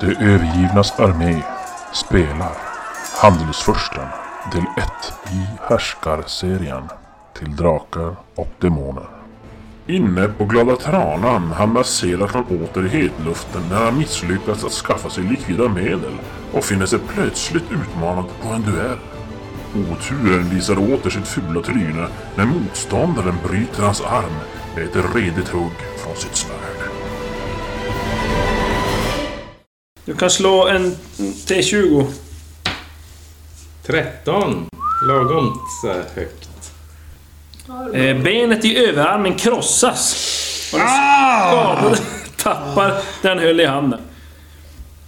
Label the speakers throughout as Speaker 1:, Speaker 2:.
Speaker 1: De övergivnas armé spelar Handelsfursten del 1 i Härskarserien till Drakar och Demoner. Inne på Glada Tranan hamnar han åter i hetluften när han misslyckats att skaffa sig likvida medel och finner sig plötsligt utmanad på en duell. Oturen visar åter sitt fula tryne när motståndaren bryter hans arm med ett redigt hugg från sitt svärd.
Speaker 2: Du kan slå en T20.
Speaker 3: 13. Lagom så här högt.
Speaker 2: Eh, benet i överarmen krossas. Och den
Speaker 3: Ah!
Speaker 2: skadade tappar den höll i handen.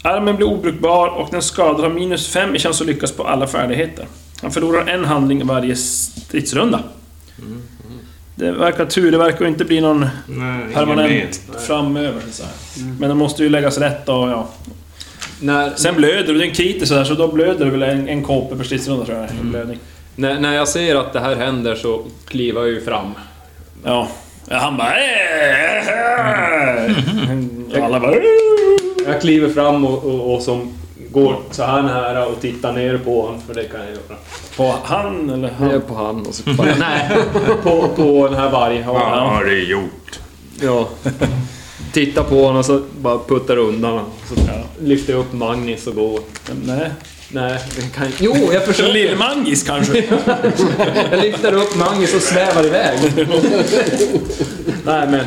Speaker 2: Armen blir obrukbar och den skadade har minus 5 i chans att lyckas på alla färdigheter. Han förlorar en handling varje stridsrunda. Det verkar tur, det verkar inte bli någon
Speaker 3: Nej, ingen
Speaker 2: permanent
Speaker 3: ben.
Speaker 2: framöver. Så här. Men den måste ju läggas rätt och ja.
Speaker 4: När,
Speaker 2: Sen blöder du, det är en kritisk sådär, så då blöder du väl en, en KP per stridsrunda tror jag.
Speaker 3: Mm.
Speaker 2: en Blödning.
Speaker 4: när, när jag ser att det här händer så kliver jag ju fram.
Speaker 2: Ja. Ja, Han bara... Och alla bara...
Speaker 4: Jag kliver fram och, och, och som går så här nära och tittar ner på honom, för det kan jag göra.
Speaker 2: På han eller
Speaker 4: Jag är
Speaker 2: han?
Speaker 4: på han och så bara, Nej, på, på den här vargen.
Speaker 3: Vad
Speaker 4: Ja.
Speaker 3: har du gjort?
Speaker 4: ja. Tittar på honom och så bara puttar undan honom. Så lyfter jag upp Magnus och går.
Speaker 2: Nej.
Speaker 4: Nej, det kan Jo, jag försöker.
Speaker 2: Lillmangis kanske?
Speaker 4: Jag lyfter upp Magnus och svävar iväg. Nej, men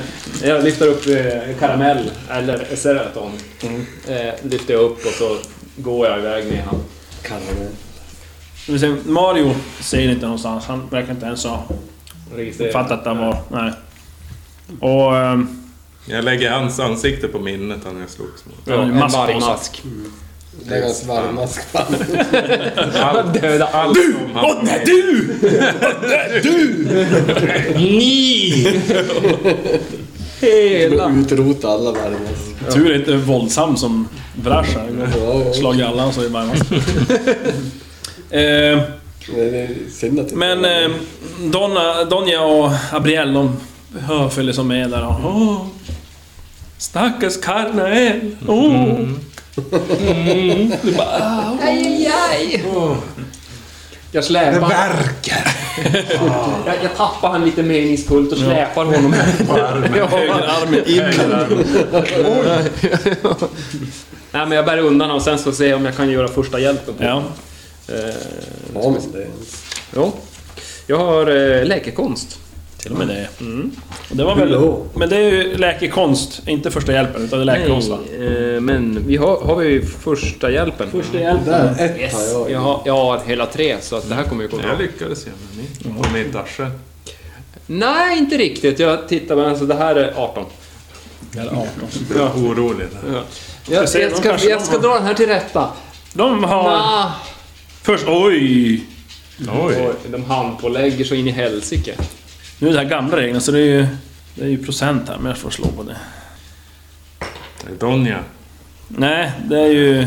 Speaker 4: jag lyfter upp eh, Karamell, eller Seraton.
Speaker 3: Mm.
Speaker 4: Eh, lyfter jag upp och så går jag iväg med han.
Speaker 2: Vi ser, Mario säger inte någonstans. Han verkar inte ens ha
Speaker 4: Registrerar.
Speaker 2: fattat att han var... Nej. Och... ehm,
Speaker 3: Jag lägger hans ansikte på minnet han jag slogs mot.
Speaker 2: Ja, en
Speaker 4: en
Speaker 2: mask på
Speaker 4: vargmask.
Speaker 5: Det är hans varma skvall.
Speaker 3: Allt,
Speaker 4: Döda allt.
Speaker 3: allt om han.
Speaker 2: Åh, nej, du!
Speaker 4: Ni! Hela...
Speaker 5: Utrota alla vargar.
Speaker 2: Tur är inte våldsam som Vrasha. Slagit alla och så är det bara en massa. Eh,
Speaker 5: Men det är synd att det
Speaker 2: Men
Speaker 5: inte-
Speaker 2: eh, Donna, Donja och Abriel, de hör- följer som med där och... Åh, stackars Karnael! Åh! Det bara, ah,
Speaker 4: Jag släpar... Det verkar! jag, jag tappar han lite meningsfullt och släpar honom.
Speaker 2: högerarmen in.
Speaker 4: Nej, men jag bär undan honom och sen så ser jag om jag kan göra första hjälpen. på
Speaker 2: Ja.
Speaker 4: Eh,
Speaker 5: Ja, men det är...
Speaker 4: ja. Jag har eh, läkekonst.
Speaker 2: Till och med det. Och det var väl, men det är ju läkekonst, inte första hjälpen, utan det är läkekonst va?
Speaker 4: eh, men vi har, har vi första hjälpen? Första hjälpen.
Speaker 5: Där, ett har jag.
Speaker 4: Jag har, jag har hela tre, så att det här kommer ju gå bra.
Speaker 3: Jag lyckades ju med min. Och mitt arsel.
Speaker 4: Nej, inte riktigt. Jag tittar, men alltså det här är 18.
Speaker 2: Eller 18.
Speaker 3: Jag är orolig där.
Speaker 4: Jag,
Speaker 2: ser
Speaker 4: jag,
Speaker 2: någon
Speaker 4: ska,
Speaker 2: kanske
Speaker 4: jag
Speaker 2: de
Speaker 4: ska
Speaker 2: har-
Speaker 4: dra den här till rätta.
Speaker 2: De har...
Speaker 4: Ah,
Speaker 2: Först... Oj!
Speaker 3: Oj.
Speaker 4: de handpålägger så in i helsike.
Speaker 2: Nu är det här gamla reglerna, så det är ju... Det är ju procent här, men jag får slå på det.
Speaker 3: Det är Donja.
Speaker 2: Nej, det är ju...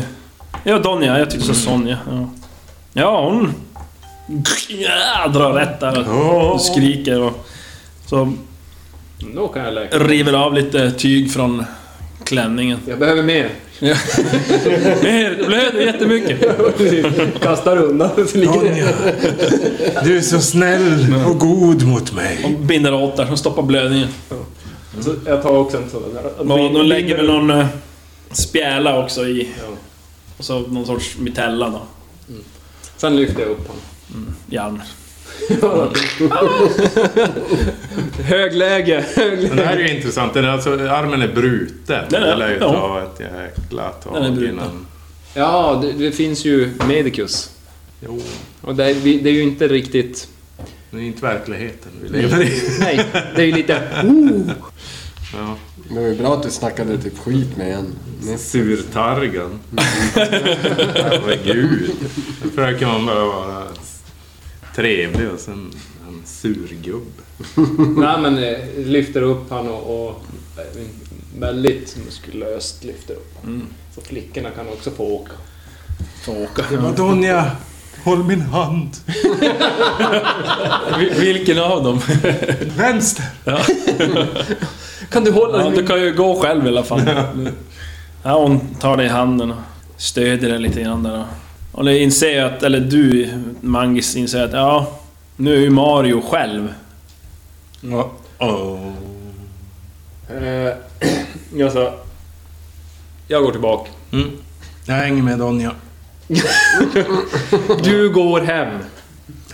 Speaker 2: Ja, Donja. Jag tyckte så Sonja. Ja, ja hon... Ja, drar rätt där och skriker och... Så
Speaker 4: Då kan jag läka.
Speaker 2: river av lite tyg från klänningen.
Speaker 4: Jag behöver mer.
Speaker 2: Mer! Blöder jättemycket!
Speaker 4: Kastar undan så ligger det.
Speaker 6: Du är så snäll och god mot mig.
Speaker 2: Hon binder åt där, som stoppar blödningen.
Speaker 4: Så jag tar också en sån där.
Speaker 2: Och de lägger väl någon eh, spjäla också i... Och så någon sorts mitella då.
Speaker 4: Sen lyfter jag upp honom.
Speaker 2: Järn.
Speaker 4: Högläge,
Speaker 3: Men det här är ju intressant. Den är alltså, armen är bruten.
Speaker 2: Den är-
Speaker 3: Det lär ju
Speaker 2: ja.
Speaker 3: ta ett jäkla tag
Speaker 2: Den är bruten.
Speaker 3: innan...
Speaker 4: Ja, det, det finns ju Medicus.
Speaker 3: Jo,
Speaker 4: Och det, är- vi- det är ju inte riktigt...
Speaker 3: det är inte verkligheten vi lever i.
Speaker 4: Nej, det är ju lite... Oh.
Speaker 3: Ja.
Speaker 5: Det var ju bra att du snackade typ skit med en. Men
Speaker 3: Surtargen. Herregud. Då försöker man bara vara trevlig och sen en surgubb.
Speaker 4: Nej, men eh, lyfter upp han och, och eh, väldigt muskulöst lyfter upp honom.
Speaker 3: Mm.
Speaker 4: Så flickorna kan också få åka.
Speaker 2: Får åka.
Speaker 3: Donja, håll min hand.
Speaker 2: Vil- Vilken av dem?
Speaker 3: Vänster.
Speaker 4: Kan du hålla
Speaker 2: Ja, du kan ju gå själv i alla fall. Ja, hon tar dig i handen och stödjer dig lite grann där. och- Och det inser ju att, eller du Mangis inser att ja, nu är ju Mario själv.
Speaker 3: Oh.
Speaker 4: Eh, jag sa... Jag går tillbaka.
Speaker 3: Mm. Jag hänger med Donja.
Speaker 4: Du går hem.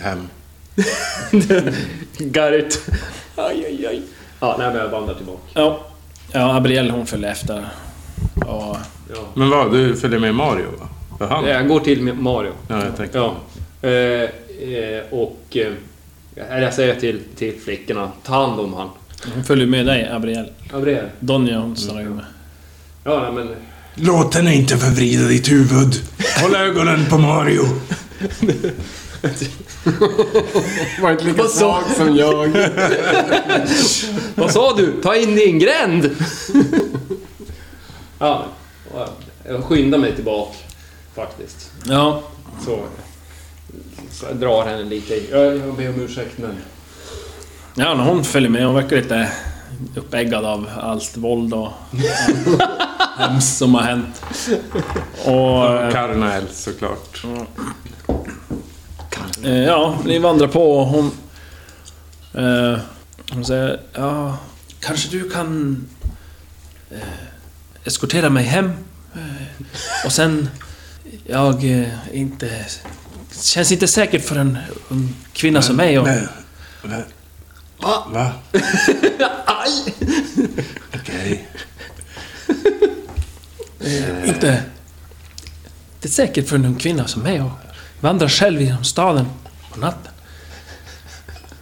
Speaker 3: Hem.
Speaker 4: Got it. Aj, aj, aj. Ja, nej, men jag vandrar tillbaka.
Speaker 2: Ja, ja Abriel hon följer efter. Och
Speaker 4: Ja. Eh,
Speaker 3: Men vad, du följer med Mario va? För han?
Speaker 4: Jag går till med Mario.
Speaker 3: Ja, jag tänkte.
Speaker 4: Ja. Eh, eh, och... Eh, jag säger till, till flickorna, ta hand om han.
Speaker 2: hon följer med dig Abriel.
Speaker 4: Gabriel.
Speaker 2: Donja hon stannar ju med.
Speaker 4: Ja, nej, men...
Speaker 6: Låt henne inte förvrida ditt huvud. Håll ögonen på Mario.
Speaker 5: Var inte lika svag som jag.
Speaker 4: Vad sa du? Ta in din gränd! ja, och jag skyndar mig tillbaka faktiskt.
Speaker 2: Ja,
Speaker 4: Så, så jag drar henne lite. i- Jag, jag ber om ursäkt men...
Speaker 2: ja men hon följer med. Hon verkar lite uppeggad av allt våld och hemskt som har hänt. Och...
Speaker 3: Karnael såklart.
Speaker 2: Eh, ja, ni vandrar på och hon... Eh, hon säger, ja... Kanske du kan... Eh, eskortera mig hem? Eh, och sen... Jag eh, är inte... Känns inte säkert för en ung kvinna som mig och...
Speaker 6: Men... Va? Va?
Speaker 4: Aj!
Speaker 6: Okej.
Speaker 2: Inte... Det är säkert för en ung kvinna som mig och vandra själv genom staden på natten.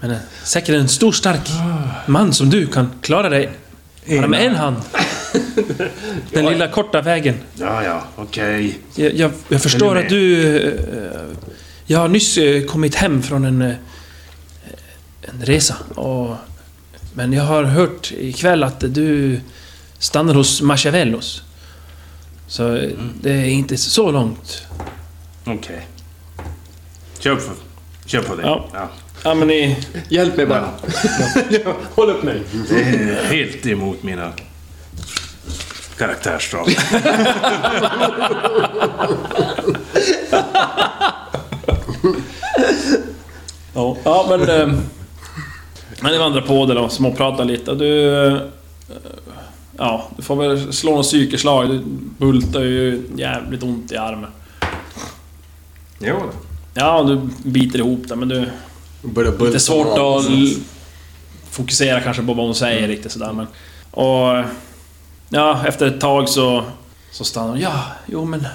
Speaker 2: Men eh, säkert en stor stark man som du kan klara dig bara med en hand. Den lilla korta vägen.
Speaker 6: Ja, ja, okej.
Speaker 2: Jag, jag, jag förstår
Speaker 6: med?
Speaker 2: att du... eh, Jag har nyss eh, kommit hem från en... eh, En resa och... Men jag har hört ikväll att du stannar hos Machiavellos. Så eh,
Speaker 6: Mm.
Speaker 2: det är inte så långt.
Speaker 3: Okej. Kör på, kör på det.
Speaker 2: Ja.
Speaker 3: Ja.
Speaker 2: Ja men ni...
Speaker 4: Hjälp mig bara. Håll upp mig.
Speaker 3: Det är helt emot mina karaktärsdrag.
Speaker 2: Ja, ja men... eh, Men ni vandrar på där och småpratar lite. Du... eh, Ja, du får väl slå något psykeslag. Du bultar ju jävligt ont i armen.
Speaker 3: jo då.
Speaker 2: Ja, du biter ihop det men du...
Speaker 5: Börjar bulta
Speaker 2: Lite svårt
Speaker 5: av.
Speaker 2: att l- fokusera kanske på vad hon säger riktigt sådär men... Och... Ja, efter ett tag så... Så stannar hon. Ja, jo men...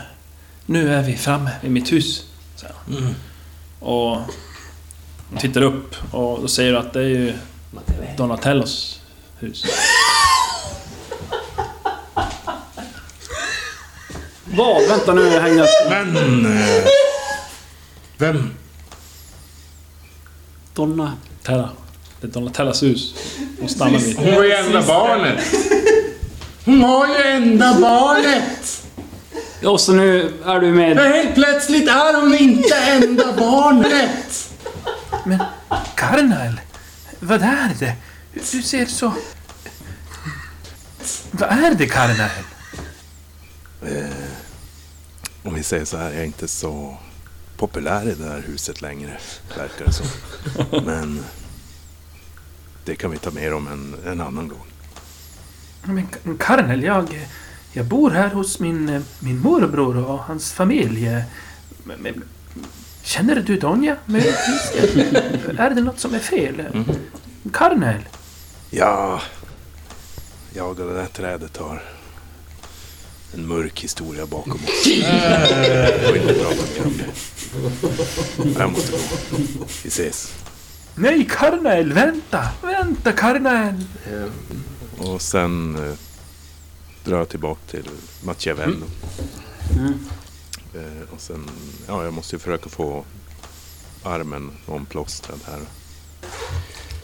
Speaker 2: Nu är vi framme vid mitt hus. Säger hon. Och... Hon tittar upp och då säger du att det är ju Donatellos hus.
Speaker 4: Vad? Vänta nu, jag hänger...
Speaker 6: Men... eh, Vem?
Speaker 4: Donna.
Speaker 2: Tella. Det är Donatellas hus. Hon stannar vid.
Speaker 3: Hon var ju enda barnet.
Speaker 6: Hon har ju enda barnet!
Speaker 4: Och så nu är du med...
Speaker 6: Men helt plötsligt är hon inte enda barnet!
Speaker 7: Karnal, vad är det? Du ser så... Vad är det, Karnal?
Speaker 8: Om vi säger så här, jag är inte så populär i det här huset längre, verkar det som. Men det kan vi ta mer om en, en annan gång.
Speaker 7: Men K- Karnal, jag... Jag bor här hos min, eh, min morbror och hans familj. Eh, men- men- Känner du Donja, möjligtvis? är det något som är fel? Karnal?
Speaker 8: Ja, jag och det där trädet har en mörk historia bakom oss. Det var inte bra att prata om. Jag måste gå. Vi ses.
Speaker 7: Nej, Karnal, vänta! Vänta, Karnal!
Speaker 8: Och sen eh, drar jag tillbaka till Machiavello. Mm. Eh, och sen, ja, jag måste ju försöka få armen omplåstrad här.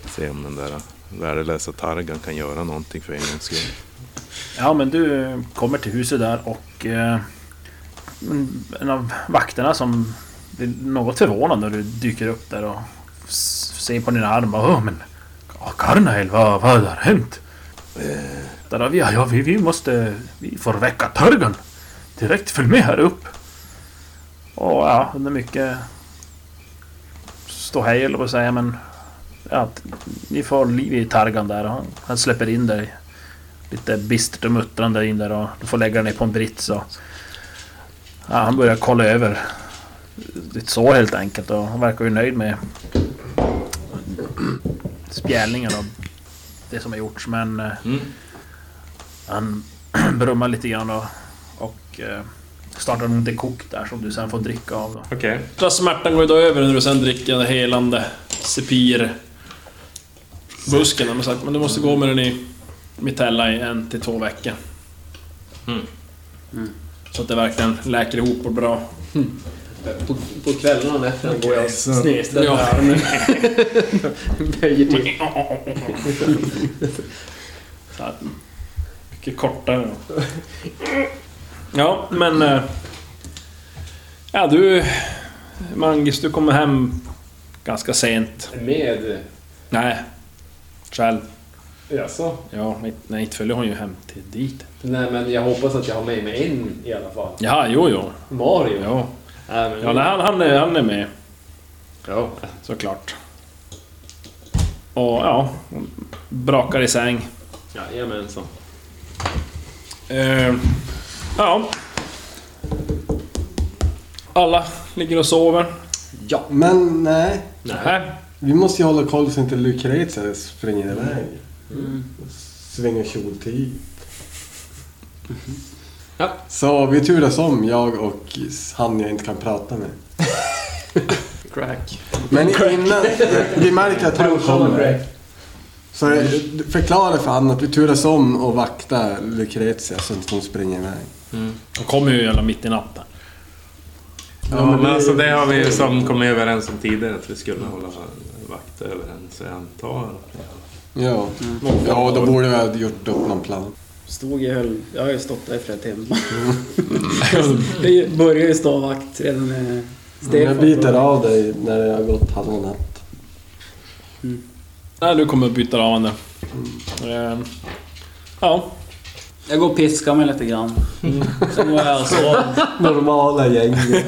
Speaker 8: Se om den där värdelösa targan kan göra någonting för en gångs skull.
Speaker 7: Ja, men du eh, kommer till huset där och eh, en- en av vakterna som blir något förvånad när du dyker upp där och s- ser på dina armar. Åh, men Karnael, vad, vad Eh, har hänt? Därav, ja, ja, vi, vi måste... Vi får väcka Törgen. Direkt följ med här upp. Och ja, under mycket... Stå hej, eller vad säga, men... Ja, t- ni får liv i Targan där. Han, han släpper in dig. Lite bistert och muttrande in där och du får lägga dig på en brits och... Ja, han börjar kolla över ditt sår helt enkelt och han verkar ju nöjd med spjälningen och det som har gjorts men eh, han brummar lite grann och, och eh, startar en liten kok där som du sen får dricka av. Då.
Speaker 3: Okej.
Speaker 2: Första smärtan går ju då över när du sen dricker den helande sepir busken har man sagt, men du måste gå med den i Mitella i en till två veckor.
Speaker 4: Mm.
Speaker 2: Så att det verkligen läker ihop och bra.
Speaker 4: På, på kvällarna och nätterna går jag
Speaker 6: så-
Speaker 4: snedställd med armen. Böjer till.
Speaker 2: Så här, mycket kortare. då. Ja, men... eh, Ja, du... Mangis, du kommer hem ganska sent.
Speaker 4: Med...
Speaker 2: Nej, själv.
Speaker 4: Jaså?
Speaker 2: Ja, nej, inte följer hon ju hem till dit.
Speaker 4: Nej men jag hoppas att jag har med mig en i alla fall.
Speaker 2: Ja, jo, jo.
Speaker 4: Mario.
Speaker 2: jo.
Speaker 4: Nej, men,
Speaker 2: Ja, nej, han, han, är, han är med.
Speaker 4: Ja.
Speaker 2: Såklart. Och ja, brakar i säng.
Speaker 4: Jajamensan.
Speaker 2: Eh, ja. Alla ligger och sover.
Speaker 5: Ja, men nej.
Speaker 2: Nej.
Speaker 5: Vi måste ju hålla koll så inte Lucrezia springer iväg. typ. Svingar kjoltid.
Speaker 4: Ja.
Speaker 5: Så vi turas om, jag och han jag inte kan prata med.
Speaker 4: Crack.
Speaker 5: Men innan vi märker att han kommer. Så förklara för han att vi turas om och vakta Lucrezia så att hon springer iväg.
Speaker 2: De kommer ju jävla mitt i natten.
Speaker 3: Ja, men alltså det har vi ju som kommit överens om tidigare att vi skulle hålla vakt över henne. Så jag antar...
Speaker 5: Ja, ja då borde vi ha gjort upp någon plan.
Speaker 9: Stod jag, höll, jag har ju stått där i flera timmar. det börjar ju stå vakt redan när Stefan...
Speaker 5: Jag biter av dig när det har gått halva natt.
Speaker 2: Nej, du kommer att byta av henne. Eh, ja.
Speaker 9: Jag går och piskar mig lite grann. Sen går jag och sover.
Speaker 5: Normala gänget.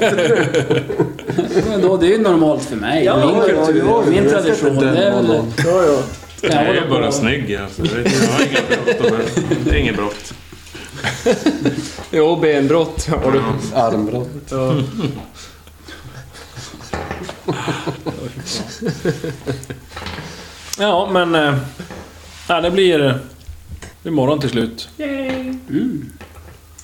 Speaker 9: Men då, det är ju normalt för mig.
Speaker 5: Ja,
Speaker 9: min
Speaker 5: ja,
Speaker 9: kultur,
Speaker 5: ja, ja.
Speaker 9: min
Speaker 5: Jag ska
Speaker 9: tradition.
Speaker 5: inte
Speaker 9: Det är
Speaker 5: döma
Speaker 9: väl...
Speaker 5: någon.
Speaker 9: Ja, ja.
Speaker 3: Jag
Speaker 9: Jag
Speaker 3: är
Speaker 9: håller
Speaker 3: ju
Speaker 9: på-
Speaker 3: bara snygg alltså. Det är- Jag har inga brott. att bära. Det är inget brott.
Speaker 4: Jo, benbrott har du.
Speaker 5: Armbrott.
Speaker 2: Ja, men... eh, Ja, det blir... eh, Det blir morgon till slut.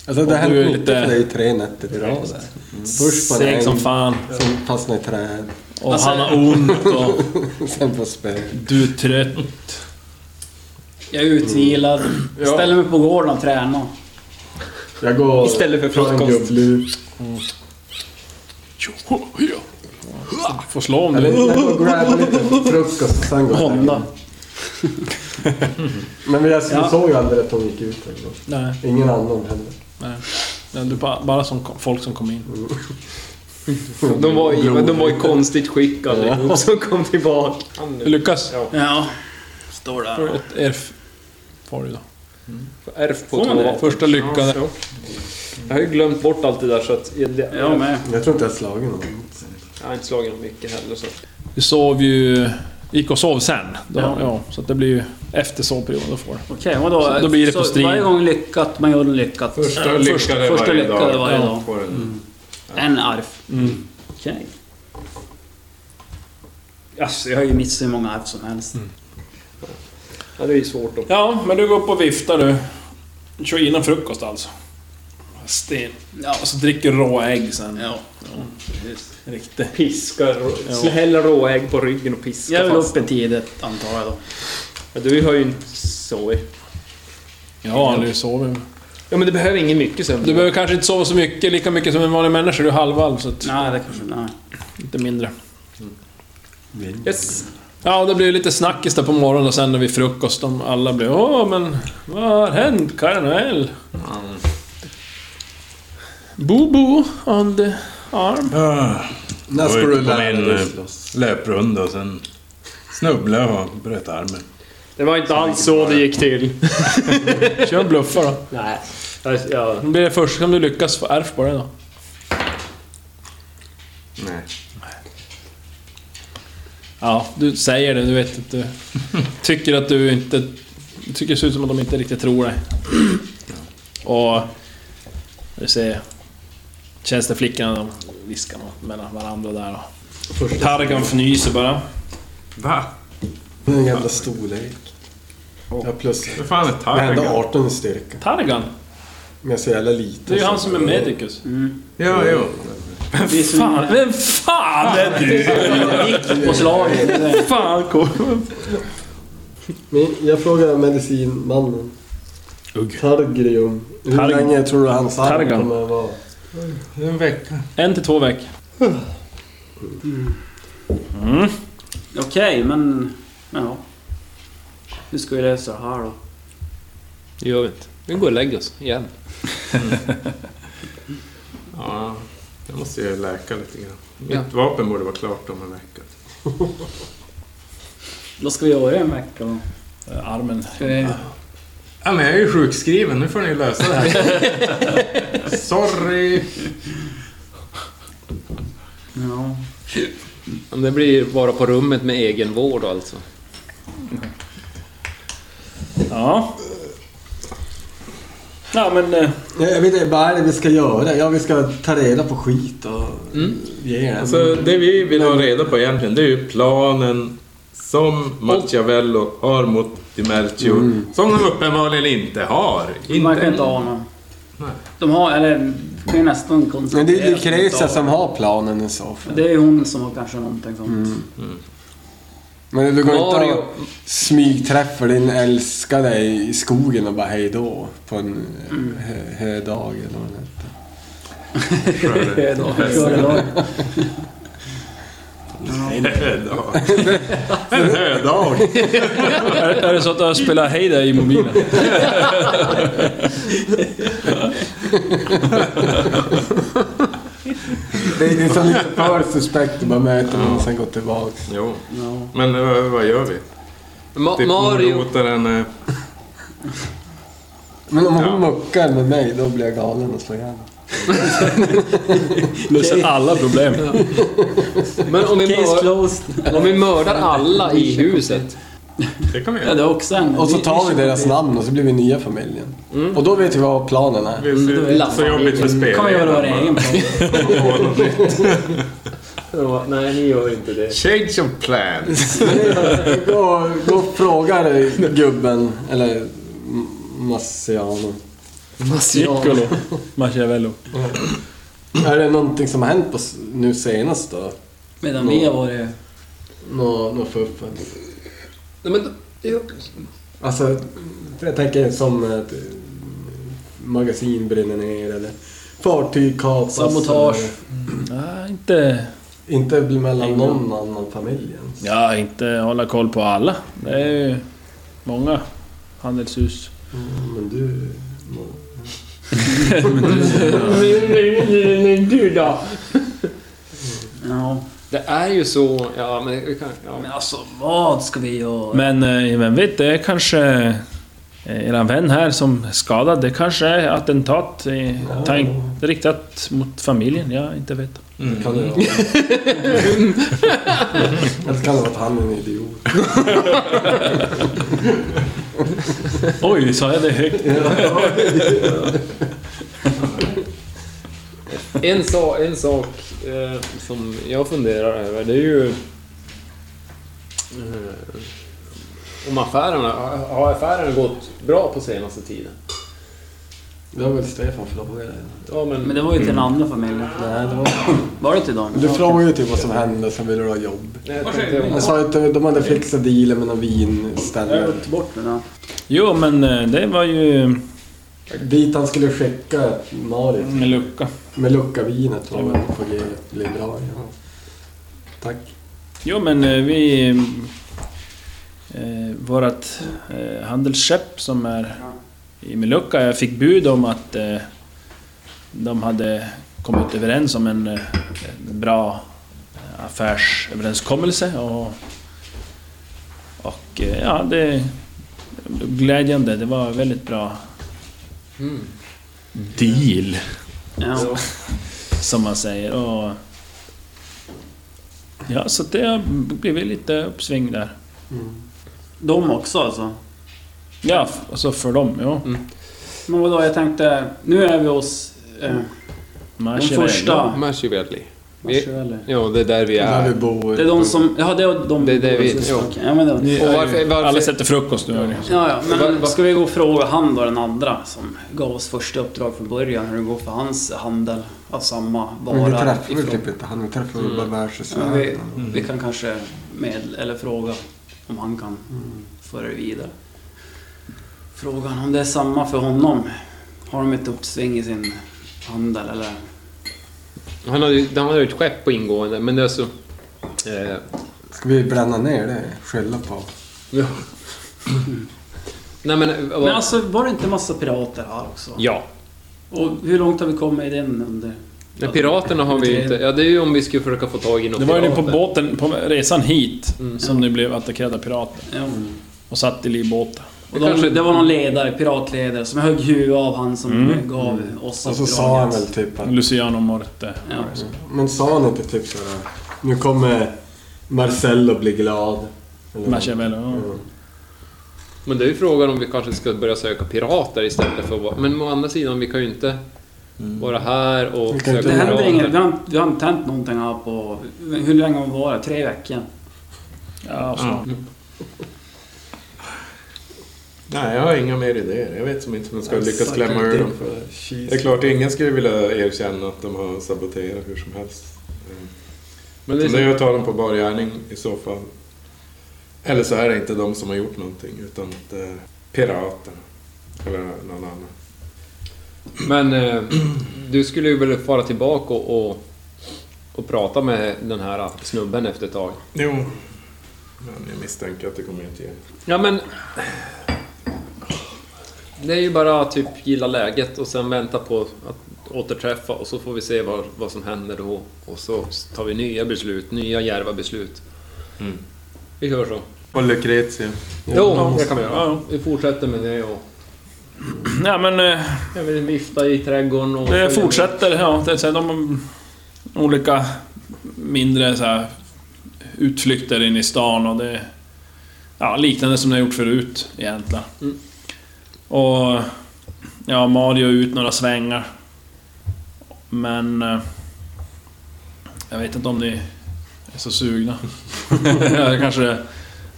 Speaker 5: Alltså det
Speaker 2: Och
Speaker 5: har hänt
Speaker 2: du är
Speaker 5: mycket
Speaker 2: lite-
Speaker 5: för dig i tre nätter i rad. där. Först på Alltså-
Speaker 2: Seg
Speaker 5: regn,
Speaker 2: som fan.
Speaker 5: sen fastnar i träd,
Speaker 2: Och han har ont och
Speaker 5: sen på spön.
Speaker 2: du är trött.
Speaker 9: Jag är utvilad. Ställer mig på gården och tränar.
Speaker 5: Jag går
Speaker 4: Istället för
Speaker 5: tar en
Speaker 4: frukost.
Speaker 5: gubblup.
Speaker 2: Får slå om
Speaker 5: Eller
Speaker 2: du.
Speaker 5: jag går och grabbar lite frukost, sen går jag hem.
Speaker 9: Honda.
Speaker 5: Men jag
Speaker 9: Ja.
Speaker 5: såg ju aldrig att hon gick ut. eller något.
Speaker 2: Nej,
Speaker 5: Ingen annan heller.
Speaker 2: nej, du bara, bara som kom- folk som kom in.
Speaker 5: Mm.
Speaker 4: De var i, de var i konstigt skick allihop som kom tillbaka.
Speaker 2: Lukas,
Speaker 9: Ja. Står där.
Speaker 2: får du ett erf... Får du då.
Speaker 4: Ärf på
Speaker 9: Får man det?
Speaker 4: två.
Speaker 2: Första lyckan.
Speaker 4: Ja. Jag har ju glömt bort allt det där så att... Jag, det,
Speaker 9: Jag med.
Speaker 5: Jag tror inte jag har slagit någon.
Speaker 4: jag har inte slagit dem mycket heller så...
Speaker 2: Du sov ju... Gick och sov sen. Då, ja.
Speaker 9: Ja.
Speaker 2: så att det blir ju efter sovperioden. Då får du.
Speaker 9: Okej, vadå?
Speaker 2: Så då blir det på
Speaker 9: Så
Speaker 2: strid.
Speaker 9: Varje gång lyckat, man gör en lyckat.
Speaker 3: Första lyckade
Speaker 9: första
Speaker 3: varje
Speaker 9: lyckade
Speaker 3: dag.
Speaker 9: varje
Speaker 3: Ja,
Speaker 9: dag. Mm.
Speaker 3: får en-
Speaker 9: En arf. Okej. Alltså, jag har ju missat hur många arv som helst.
Speaker 4: Ja, det är ju svårt då.
Speaker 2: Ja, men du går upp och viftar du. Du Kör innan frukost alltså. Sten.
Speaker 9: Ja,
Speaker 2: Och så dricker du råa ägg sen.
Speaker 9: ja.
Speaker 2: Riktigt.
Speaker 4: Piskar, ja. häller råägg på ryggen och piskar
Speaker 9: Jag vill
Speaker 4: fast.
Speaker 9: uppe tidigt, antar jag då.
Speaker 4: Ja, du har ju en soj.
Speaker 2: Ja, du sover.
Speaker 4: Ja, men det behöver ingen mycket sömn.
Speaker 2: Du behöver kanske inte sova så mycket, lika mycket som en vanlig människa. Du är halvalv, så att
Speaker 9: Nej, det kanske... Nej.
Speaker 2: lite mindre.
Speaker 4: Yes.
Speaker 2: Ja, det blir lite snackis där på morgonen och sen när vi frukost. De alla blir Åh, men vad har hänt? Karneval?
Speaker 10: Mm.
Speaker 2: Bobo on the arm.
Speaker 3: Ah,
Speaker 5: När ska
Speaker 3: var
Speaker 5: du
Speaker 3: ute på
Speaker 5: lära
Speaker 3: min,
Speaker 5: dig
Speaker 3: eh,
Speaker 5: slåss?
Speaker 3: Löprunda och sen snubblade jag och bröt armen.
Speaker 10: Det var inte alls så det gick till.
Speaker 2: Kör en bluffa då.
Speaker 10: Nej. Jag, jag,
Speaker 2: Det blir det första som du lyckas få ärf bara då.
Speaker 3: Nej.
Speaker 2: Ja, du säger det. Du vet att du tycker att du inte... Du tycker det ser ut som att de inte riktigt tror dig. Och... Du ser... Tjänsteflickorna de viskar något mellan varandra där och... Targan fnyser bara.
Speaker 3: Va?
Speaker 5: Den jävla storlek. Ja, plus...
Speaker 3: Hur fan är
Speaker 5: Jag har ändå
Speaker 3: Targan?
Speaker 5: 18 i styrka.
Speaker 2: Targan?
Speaker 5: Men jag är så jävla
Speaker 2: Det
Speaker 5: liten.
Speaker 2: är ju han som är medicus.
Speaker 3: Ja, jo.
Speaker 2: Fan, vem fan är du?
Speaker 9: På slaget.
Speaker 2: Fan kom.
Speaker 5: Men jag frågar medicinmannen.
Speaker 2: Ugg.
Speaker 5: Targrium. Hur
Speaker 2: Targ-
Speaker 5: länge tror du hans arm
Speaker 2: Targan.
Speaker 5: kommer att vara?
Speaker 3: En vecka.
Speaker 2: En till två veckor.
Speaker 9: Okej, men... Ja. Hur ska vi lösa det här då?
Speaker 2: Det gör vi inte. Vi går och lägger oss igen.
Speaker 3: Ja, jag måste ju läka lite grann. Mitt vapen borde vara klart om en vecka.
Speaker 9: Vad ska vi göra i en vecka då?
Speaker 2: Armen.
Speaker 9: Ska vi...
Speaker 3: Ja, men jag är ju sjukskriven. Nu får ni lösa det här. Sorry!
Speaker 9: Ja.
Speaker 4: Om det blir vara på rummet med egen vård alltså.
Speaker 2: Ja. Ja men... eh,
Speaker 5: Jag, jag vet inte, vad är det vi ska göra? Ja, vi ska ta reda på skit och ge den.
Speaker 3: Alltså, det vi vill ha reda på egentligen, det är ju planen som Machiavello har mot Dimercio. Som de uppenbarligen inte har.
Speaker 9: Man kan
Speaker 3: Inte
Speaker 9: inte ana. De har, eller... Kan ju nästan konstatera...
Speaker 5: Men det är ju
Speaker 9: att de inte
Speaker 5: Lucrezia
Speaker 9: har.
Speaker 5: som har planen i så fall.
Speaker 9: Det är ju hon som har kanske någonting sånt.
Speaker 5: Mm. Men du går inte
Speaker 4: Mario-
Speaker 5: och smygträffar din älskade i skogen och bara hej då på en eh, hö, hödag eller vad det heter.
Speaker 3: för det. Hödag. En hödag.
Speaker 2: Är, är det så att du har spelat Hej där i mobilen?
Speaker 5: Det är liksom lite för suspekt att bara möta någon och sen gå tillbaks.
Speaker 3: Jo. Men eh, vad gör vi?
Speaker 4: Ma
Speaker 3: Typ
Speaker 4: Mario,
Speaker 3: morotar henne.
Speaker 5: Men om hon muckar med mig då blir jag galen och slår ihjäl henne.
Speaker 2: Löser alla problem.
Speaker 4: men om vi,
Speaker 9: Case
Speaker 4: mör
Speaker 9: closed.
Speaker 4: om vi mördar alla i huset.
Speaker 3: Det kan vi
Speaker 9: Ja,
Speaker 3: göra.
Speaker 9: det är också en.
Speaker 5: Och så tar vi deras namn och så blir vi nya familjen. Och då vet vi vad planen är.
Speaker 3: Det
Speaker 9: Mm,
Speaker 3: är så- så jobbigt för spelare.
Speaker 9: Kan man göra vår egen plan.
Speaker 10: ja, nej, ni gör inte det.
Speaker 3: Change of plans.
Speaker 5: Gå, gå och frågar gubben, eller Massiano.
Speaker 2: Piccolo. Machiavello.
Speaker 5: Är det någonting som har hänt på, s- nu senast då?
Speaker 9: Medan vi har varit...
Speaker 5: Nå, nå fuffens?
Speaker 4: Nej, men, ja.
Speaker 5: Alltså, jag tänker som att eh, magasin brinner ner eller fartyg kapas.
Speaker 9: Sabotage.
Speaker 5: eller-
Speaker 2: Nej, inte...
Speaker 5: Inte mellan någon annan familj ens.
Speaker 2: Ja, inte hålla koll på alla. Det är ju många handelshus.
Speaker 5: Mm, Men du...
Speaker 9: Du då? Ja,
Speaker 4: det är ju så... Ja, men, vi kan, ja.
Speaker 9: men alltså vad ska vi göra?
Speaker 2: Men eh, vem vet, det är kanske... Eh, eran vän här som är skadad, det kanske är attentat eh, tänkt, riktat mot familjen. Jag inte vet.
Speaker 5: Det kan det vara. Eller kan det vara att han är en idiot.
Speaker 2: Oj, sa jag det högt?
Speaker 4: En, sa, en sak eh, som jag funderar över, det är ju... Eh, om affärerna... Har affärerna gått bra på senaste tiden?
Speaker 5: Det var väl Stefan frågade.
Speaker 4: Ja, men...
Speaker 9: Men det var ju till den andra familjen.
Speaker 5: Nej, det var...
Speaker 9: Var det till dem?
Speaker 5: Du frågade ju typ vad som hände, sen ville du ha jobb.
Speaker 4: Nej, jag tänkte,
Speaker 5: Jag sa att de hade fixat dealen med någon vinställe.
Speaker 9: Ta bort den där.
Speaker 2: Jo, men eh, det var ju
Speaker 5: Dit han skulle skicka Marit.
Speaker 2: en lucka.
Speaker 5: Med luckavinet var väl på G. Blir bra ja. Tack.
Speaker 2: Jo, men eh, vi... Eh, vårt eh, handelsskepp som är i Melucka, jag fick bud om att eh, de hade kommit överens om en eh, bra affärsöverenskommelse och... Och eh, ja, det glädjande. Det var väldigt bra deal.
Speaker 9: Ja.
Speaker 2: Som man säger. Och ja, så det har blivit lite uppsving där.
Speaker 9: De också alltså?
Speaker 2: Ja, f- alltså för dem, ja.
Speaker 9: Mm. Men vadå, jag tänkte... Nu är vi hos... Eh, de
Speaker 2: Machiavelli.
Speaker 9: första...
Speaker 4: Machiavelli.
Speaker 9: Machiavelli.
Speaker 4: Ja, det är där vi är.
Speaker 5: Där vi bor.
Speaker 9: Det är de som... Ja, det är de...
Speaker 4: Det är där vi-
Speaker 9: Okej,
Speaker 4: ja.
Speaker 9: ja, men det var-
Speaker 4: Och varför, varför,
Speaker 2: Alla sätter frukost nu. hörni.
Speaker 9: Ja, ja, men
Speaker 4: Var- var-
Speaker 9: ska vi gå och fråga han då, den andra som gav oss första uppdrag från början, hur det går för hans handel av samma vara
Speaker 5: Men vi Mm, träffar väl
Speaker 9: ifrån-
Speaker 5: typ inte han. Vi träffar väl bara
Speaker 9: Ja, vi, Mm.
Speaker 5: världshistorien.
Speaker 9: vi kan kanske med, eller fråga om han kan
Speaker 5: Mm.
Speaker 9: föra det vidare. Frågan om det är samma för honom. Har de ett uppsving i sin handel eller?
Speaker 4: han har ju han har ju ett skepp på ingående, men det är så... Eh,
Speaker 5: Ska vi bränna ner det? Skälla på.
Speaker 4: ja. Nej men... Vad,
Speaker 9: Men alltså var det inte massa pirater här också?
Speaker 4: ja.
Speaker 9: Och hur långt har vi kommit i den under?
Speaker 4: Men piraterna har vi ju inte... Ja, det är ju om vi skulle försöka få tag i några
Speaker 2: Det var ju på
Speaker 4: pirater.
Speaker 2: båten, på resan hit,
Speaker 9: Mm.
Speaker 2: som ni blev attackerade av pirater.
Speaker 9: Ja.
Speaker 2: Och satt i livbåten.
Speaker 9: Och de,
Speaker 4: Kanske-
Speaker 9: Det var någon ledare, piratledare, som högg huvudet av han som
Speaker 2: Mm.
Speaker 9: gav oss
Speaker 5: Och så
Speaker 9: uppdraget.
Speaker 5: sa han väl typ att...
Speaker 2: Luciano Morte.
Speaker 9: Ja.
Speaker 5: Men sa han inte typ såhär... Nu kommer Marcello bli glad. Eller-
Speaker 2: Machiavelli. ja.
Speaker 5: Mm.
Speaker 4: Men det är ju frågan om vi kanske ska börja söka pirater istället för att vara... Men å andra sidan, vi kan ju inte vara här
Speaker 5: Vi
Speaker 4: och
Speaker 5: kan
Speaker 4: söka
Speaker 5: inte-
Speaker 9: Det händer
Speaker 4: pirater.
Speaker 9: inget. Vi har, vi har inte hänt någonting här på... Hur länge har vi varit? Tre veckor?
Speaker 2: Ja, och så.
Speaker 3: Nej, jag har inga mer idéer. Jag vet som inte hur man ska lyckas klämma ur dem.
Speaker 5: She's-
Speaker 3: Det är klart, ingen skulle vilja erkänna att de har saboterat hur som helst. Mm.
Speaker 4: Men det är
Speaker 3: Utan det
Speaker 4: så,
Speaker 3: är att ta dem på bar gärning i så fall. Eller så är det inte de som har gjort någonting, utan att det är piraterna. Eller någon annan.
Speaker 4: men eh, du skulle ju väl fara tillbaka och, och, och prata med den här snubben efter ett tag?
Speaker 3: Jo. Men jag misstänker att det kommer inte ge.
Speaker 4: Ja, men... Det är ju bara att typ gilla läget och sen vänta på att återträffa och så får vi se vad, vad som händer då. Och så tar vi nya beslut, nya djärva beslut. Vi gör så.
Speaker 3: Och Lucretia.
Speaker 4: Jo, det kan vi göra. Ja, vi fortsätter med det och...
Speaker 2: Nej men... eh,
Speaker 4: Jag vill vifta i trädgården och...
Speaker 2: Det fortsätter, ja. Det är så här, de olika mindre så här, utflykter in i stan och det... Ja, liknande som ni har gjort förut egentligen.
Speaker 4: Mm.
Speaker 2: Och... Ja, Mario är ut några svängar. Men... eh, Jag vet inte om ni är så sugna. Eller Kanske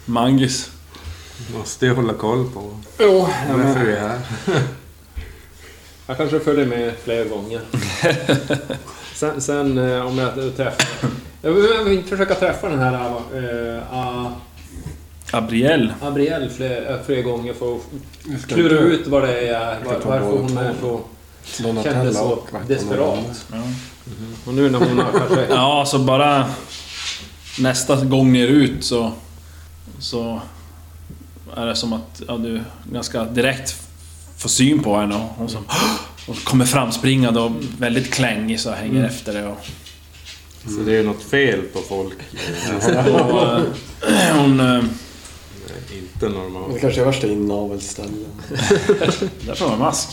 Speaker 2: Mangis.
Speaker 3: Måste ju hålla koll på
Speaker 4: Jo,
Speaker 3: varför vi är här.
Speaker 4: Jag kanske följer med fler gånger. sen, sen eh, om jag träffar... Jag vill- jag vill inte försöka träffa den här eh, ah,
Speaker 2: Gabriel.
Speaker 4: Abriel fler, eh, fler gånger för att klura ut vad det är, var,
Speaker 5: ta
Speaker 4: varför
Speaker 5: båda
Speaker 4: hon
Speaker 5: två.
Speaker 4: är så...
Speaker 5: Donatella
Speaker 4: Kändes så
Speaker 5: och Martin
Speaker 4: desperat.
Speaker 2: Ja.
Speaker 4: Mhm. Och nu när hon har kanske...
Speaker 2: Ja, så bara nästa gång ni är ut så, så är det som att ja, du ganska direkt får syn på henne och hon som och kommer framspringande och väldigt klängig så här, hänger efter dig. Och,
Speaker 3: Så det är ju något fel på folk. Mm.
Speaker 2: och, eh, hon... eh,
Speaker 3: Det är inte normalt.
Speaker 5: Det kanske är värsta inavelsställen.
Speaker 2: Därför har hon mask.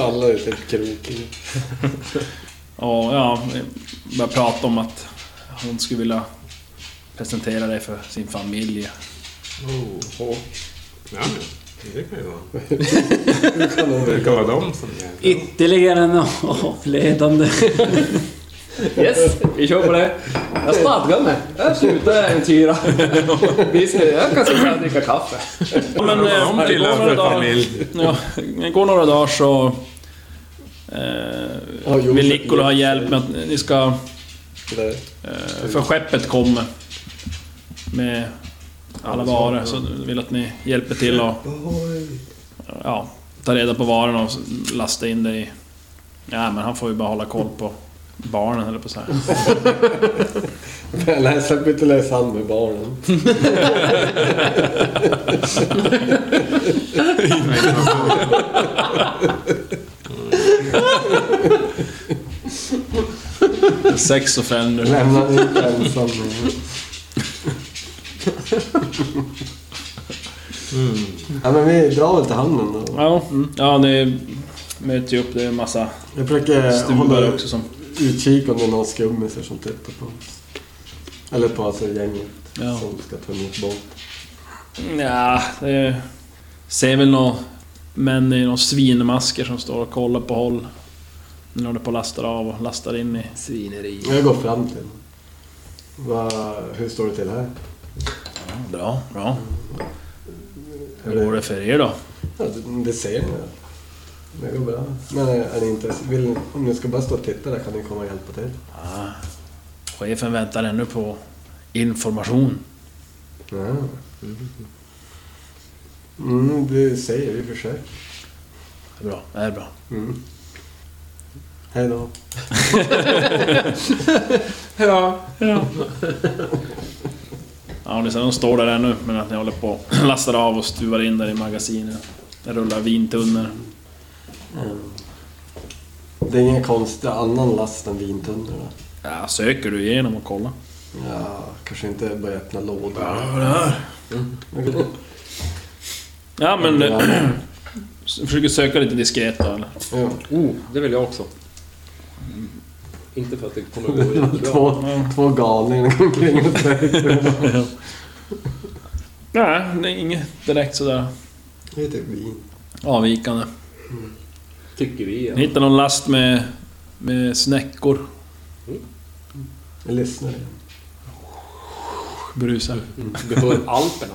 Speaker 5: Alla är typ krokiga.
Speaker 2: Och ja, börjar prata om att hon skulle vilja presentera dig för sin familj.
Speaker 3: Ja, det kan ju vara. Det kan vara de som är...
Speaker 9: Ytterligare en avledande.
Speaker 4: Yes, vi kör på det. Jag stadgar mig. Jag slutar äventyra. Vi ska, jag kan sitta och dricka kaffe.
Speaker 2: Ja, men, eh, det går några dagar, ja, det går några dagar så... Eh,
Speaker 5: Ja, jo,
Speaker 2: vill Nikola ha hjälp med att ni ska... Eh, för skeppet kommer. Med alla varor. Så vill att ni hjälper till och... Ja, ta reda på varorna och lasta in det i... Ja, men han får ju bara hålla koll på barnen eller på så här.
Speaker 5: Nej, släpp inte lös hand med barnen.
Speaker 2: Sex offender.
Speaker 5: Lämna inte ensam. Mm. Ja, men vi drar väl till hamnen då.
Speaker 2: Ja, mm. ja ni möter ju upp. Det är en massa
Speaker 5: Jag försöker
Speaker 2: stuvar
Speaker 5: hålla
Speaker 2: också som...
Speaker 5: utkik om det är någon skummisar som tittar på oss. Eller på alltså gänget
Speaker 2: Ja.
Speaker 5: som ska ta emot Bolt.
Speaker 2: Ja, det ser väl några män i några svinmasker som står och kollar på håll. När de håller på och lastar av och lastar in i...
Speaker 9: Svineri.
Speaker 5: Jag går fram till honom. Vad- Hur står det till här?
Speaker 2: Bra, bra. Hur går det för er då?
Speaker 5: Ja, det, det ser ni väl? Det går bra. Men eh, är ni inte, vill, om ni ska bara stå och titta där kan ni komma och hjälpa till.
Speaker 2: Ja, chefen väntar ännu på information.
Speaker 5: Ja. Mm, det säger vi försöker.
Speaker 2: Det är bra, det är bra.
Speaker 5: Mm. Hej då.
Speaker 3: ja.
Speaker 2: ja. Ja, ni ser de står där ännu, men att ni håller på och lastar av och stuvar in där i magasinet. Det rullar vintunnor.
Speaker 5: Det är ingen konstig annan last än vintunnor va?
Speaker 2: Ja, söker du igenom och kollar?
Speaker 5: Ja, kanske inte börja öppna lådor.
Speaker 2: vad det här? Ja, men... försöker söka lite diskret då, eller?
Speaker 11: Oh, det vill jag också.
Speaker 4: Inte för att det kommer
Speaker 5: Det
Speaker 4: att gå
Speaker 5: var
Speaker 4: jättebra.
Speaker 5: två, två galningar som går omkring och säger
Speaker 2: Nej, det är inget direkt sådär
Speaker 5: Det är typ vin.
Speaker 2: avvikande.
Speaker 4: Tycker vi.
Speaker 2: Ni hittar någon last med, med snäckor.
Speaker 5: Jag lyssnar.
Speaker 2: Brusar.
Speaker 4: Vi hör Alperna.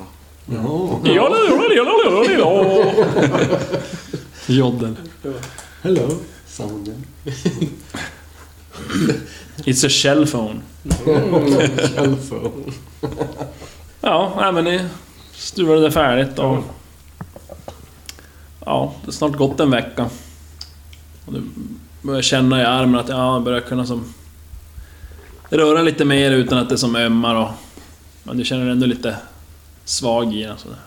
Speaker 2: Jodden.
Speaker 5: Hello, sounden.
Speaker 2: It's a shell phone.
Speaker 5: Telephone.
Speaker 2: Ja, nej, men ni stuvar det där färdigt och... Ja, det är snart gått en vecka. Och du börjar känna i armen att ja, jag börjar kunna som... Röra lite mer utan att det som ömmar och... Men du känner dig ändå lite svag i den sådär.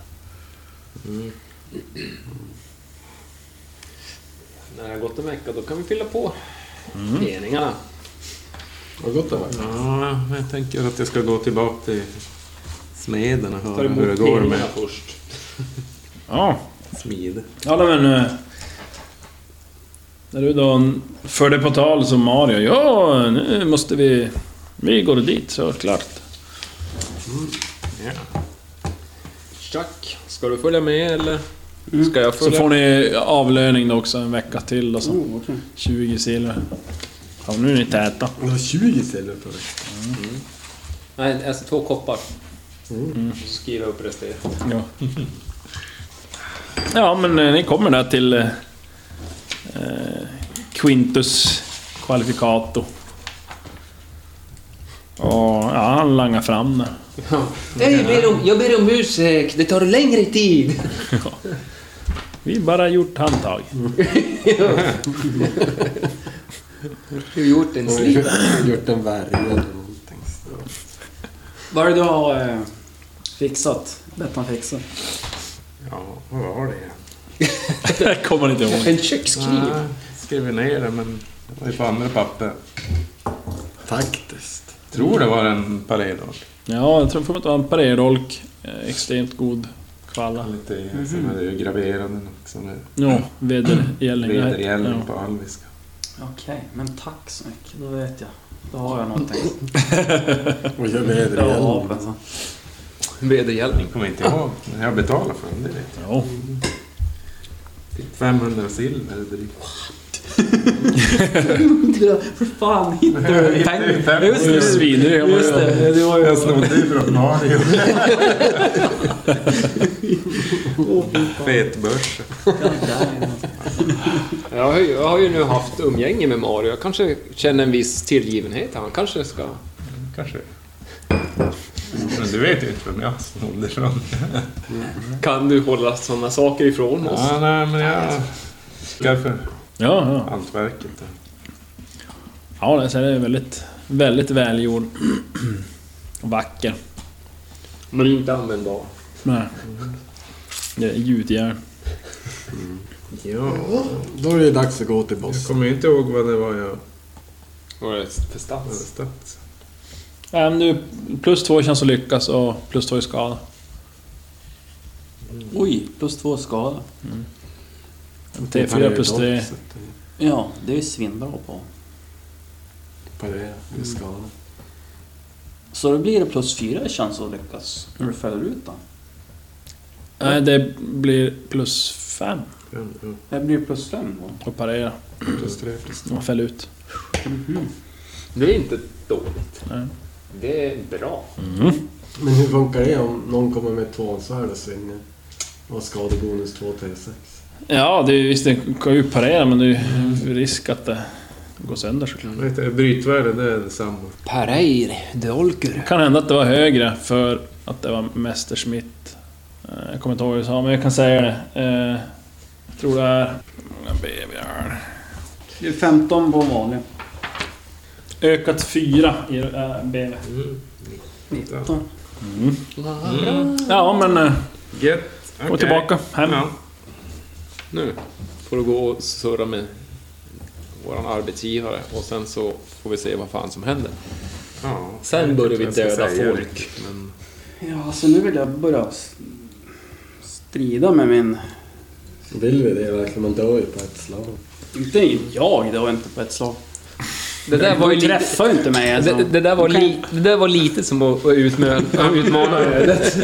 Speaker 4: När det har gått en vecka, då kan vi fylla på
Speaker 2: Mm.
Speaker 4: meningarna.
Speaker 5: Har det gått en vecka?
Speaker 3: Ja, jag tänker att jag ska gå tillbaka till smeden och
Speaker 4: Tar
Speaker 3: höra
Speaker 4: emot
Speaker 3: hur det går med
Speaker 4: meningarna först.
Speaker 2: Ja.
Speaker 3: smid.
Speaker 2: Ja, nej, men... eh, När du då förde på tal som Mario. Ja, nu måste vi... Vi går dit, så klart.
Speaker 11: Chuck, ska du följa med eller? Ska jag
Speaker 2: Mm. Så
Speaker 11: följa?
Speaker 2: får ni avlöning då också en vecka till och så.
Speaker 9: Oh, okej.
Speaker 2: 20 silver. Ja, nu är ni täta.
Speaker 5: Det var 20 silver på det.
Speaker 4: Nej, alltså två koppar.
Speaker 2: Mm.
Speaker 4: Mm. Skriva upp resterande.
Speaker 2: Ja. ja, men eh, ni kommer där till eh, eh, Quintus Qualificato. Och, ja, han langar fram det.
Speaker 12: Jag ber, om, jag ber om ursäkt, det tar längre tid.
Speaker 2: Vi bara gjort handtag.
Speaker 12: Mm. Du har gjort en slit.
Speaker 5: Gjort en värre eller någonting.
Speaker 9: Vad är det du har eh, fixat? Bett han fixa.
Speaker 3: Ja, vad var det?
Speaker 2: Det kommer man inte ihåg.
Speaker 12: En kökskniv.
Speaker 3: Ja, skrev ner det, men det var ju på andra papper.
Speaker 5: Taktiskt.
Speaker 3: Tror det var en paredor.
Speaker 2: Ja, jag tror för att det var en parerdolk. Eh, Extremt god kvalla.
Speaker 3: Lite mm Sen hade jag ju graverat den också med
Speaker 2: Ja, vedergällning.
Speaker 3: vedergällning
Speaker 2: Ja.
Speaker 3: på alviska.
Speaker 9: Ah, Okej, men tack så mycket. Då vet jag. Då har jag någonting.
Speaker 5: Och jag
Speaker 9: Jag har
Speaker 5: vedergällning.
Speaker 9: vapen sen.
Speaker 11: Vedergällning.
Speaker 3: Kommer inte ihåg, men jag betalade för den, det vet
Speaker 2: Ja.
Speaker 3: jag. Fick 500 silver drygt.
Speaker 9: För fan, hittade du pengar? Just
Speaker 2: Det är
Speaker 9: det,
Speaker 2: svinrig. jag
Speaker 9: just
Speaker 2: måste-
Speaker 9: det. Det var ju...
Speaker 3: Jag snodde ju från Mario. Fetbörs.
Speaker 4: Jag har, ju, jag har ju nu haft umgänge med Mario. Jag kanske känner en viss tillgivenhet. Han kanske ska...
Speaker 3: Mm. Kanske. Men du vet ju inte vem jag snodde från.
Speaker 4: Kan du hålla sådana saker ifrån oss?
Speaker 3: Ja, nej, men jag skaffade
Speaker 2: Ja, ja.
Speaker 3: hantverket.
Speaker 2: Ja, den ser väldigt, väldigt välgjord. Och vacker.
Speaker 4: Men inte användbar.
Speaker 2: Nej. Det är gjutjärn.
Speaker 3: Ja.
Speaker 5: Då är det dags att gå till
Speaker 3: Jag
Speaker 5: bossen.
Speaker 3: kommer ju inte ihåg vad det var jag
Speaker 4: Vad är det för
Speaker 3: hade
Speaker 4: stats?
Speaker 3: stött.
Speaker 2: Ja, men du, plus två i chans att lyckas och plus två i skada.
Speaker 9: Oj, plus två skada.
Speaker 2: T4 plus 3.
Speaker 9: Ja, det är ju svinbra på.
Speaker 5: Parera, vi skadar.
Speaker 9: Så då blir det plus fyra i chans att lyckas när du fäller ut den.
Speaker 2: Nej, det blir plus 5.
Speaker 9: Det blir plus fem då.
Speaker 2: Och parera.
Speaker 5: Plus tre, plus
Speaker 2: Man fäller ut.
Speaker 13: Det är inte dåligt.
Speaker 2: Nej.
Speaker 13: Det är bra.
Speaker 5: Men hur funkar det om någon kommer med ett tvåansvärd och svingar? Och har skadebonus 2 T6.
Speaker 2: Ja, det är, visst det kan ju parera men det är ju risk att det går sönder såklart.
Speaker 14: Vad heter det? Brytvärde, det är detsamma.
Speaker 2: Pareir, de olker. Kan hända att det var högre för att det var Messerschmitt. Eh, Jag kommer inte ihåg vad jag sa, men jag kan säga det. Eh, Jag tror det är... Babybjörn.
Speaker 9: Det är 15 på en vanlig.
Speaker 2: Ökat 4 i äh, BV.
Speaker 9: 19.
Speaker 2: Mm. Ja, men... eh,
Speaker 14: Gött.
Speaker 2: Gå
Speaker 14: Okej.
Speaker 2: tillbaka hem.
Speaker 14: Ja. Nu får du gå och surra med våran arbetsgivare och sen så får vi se vad fan som händer. sen börjar vi
Speaker 4: jag ska
Speaker 14: döda
Speaker 4: säga
Speaker 14: folk. Men...
Speaker 9: Ja, så nu vill jag börja s- strida med min...
Speaker 5: Vill vi det verkligen? Man dör ju på ett slag.
Speaker 9: Inte jag, det var inte på ett slag.
Speaker 4: Det där var ju
Speaker 9: De
Speaker 4: lite-
Speaker 9: träffar ju inte mig alltså.
Speaker 4: Det, det, där var
Speaker 9: De kan-
Speaker 4: li, det där var lite som att att utmö- att utmana ödet.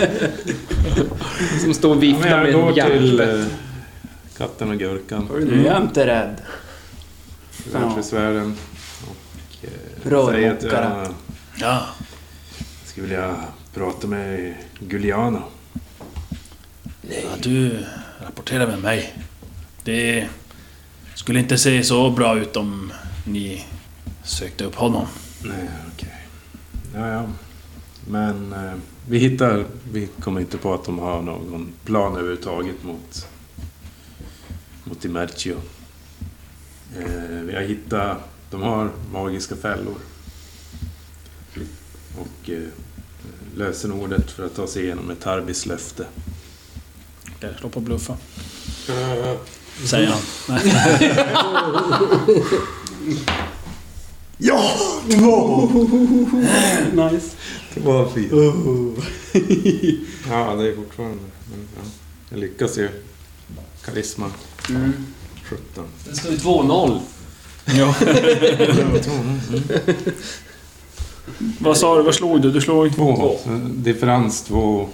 Speaker 4: Som står och
Speaker 14: Ja,
Speaker 4: viftar
Speaker 14: men
Speaker 4: med
Speaker 14: jag går
Speaker 4: en
Speaker 14: till eh,
Speaker 4: järnspett.
Speaker 14: katten och gurkan.
Speaker 9: Nu är jag inte rädd.
Speaker 14: Världsfrisvärden. Och eh,
Speaker 9: Rörmokare.
Speaker 14: säger att jag
Speaker 2: Ja.
Speaker 3: Skulle vilja prata med Juliana.
Speaker 2: Ja, du rapporterar med mig. Det skulle inte se så bra ut om ni sökte upp honom.
Speaker 3: Nej, Eh, okej. Ja, ja. Men eh, vi hittar... Vi kommer inte på att de har någon plan överhuvudtaget mot... Mot Dimercio. Eh, vi har hittat... De har magiska fällor. Och eh, lösenordet för att ta sig igenom är Tarbis löfte.
Speaker 2: Jag slår på bluffa.
Speaker 14: Eh,
Speaker 2: Säger han. Nej.
Speaker 15: Ja!
Speaker 9: nice.
Speaker 14: Det var fint. ja, det är fortfarande... Men, ja. Jag lyckas ju. Karisma. 17.
Speaker 4: Det står ju 2-0.
Speaker 2: Ja. Vad sa du? Vad slog du? Du slog...
Speaker 14: Två. Differens 2.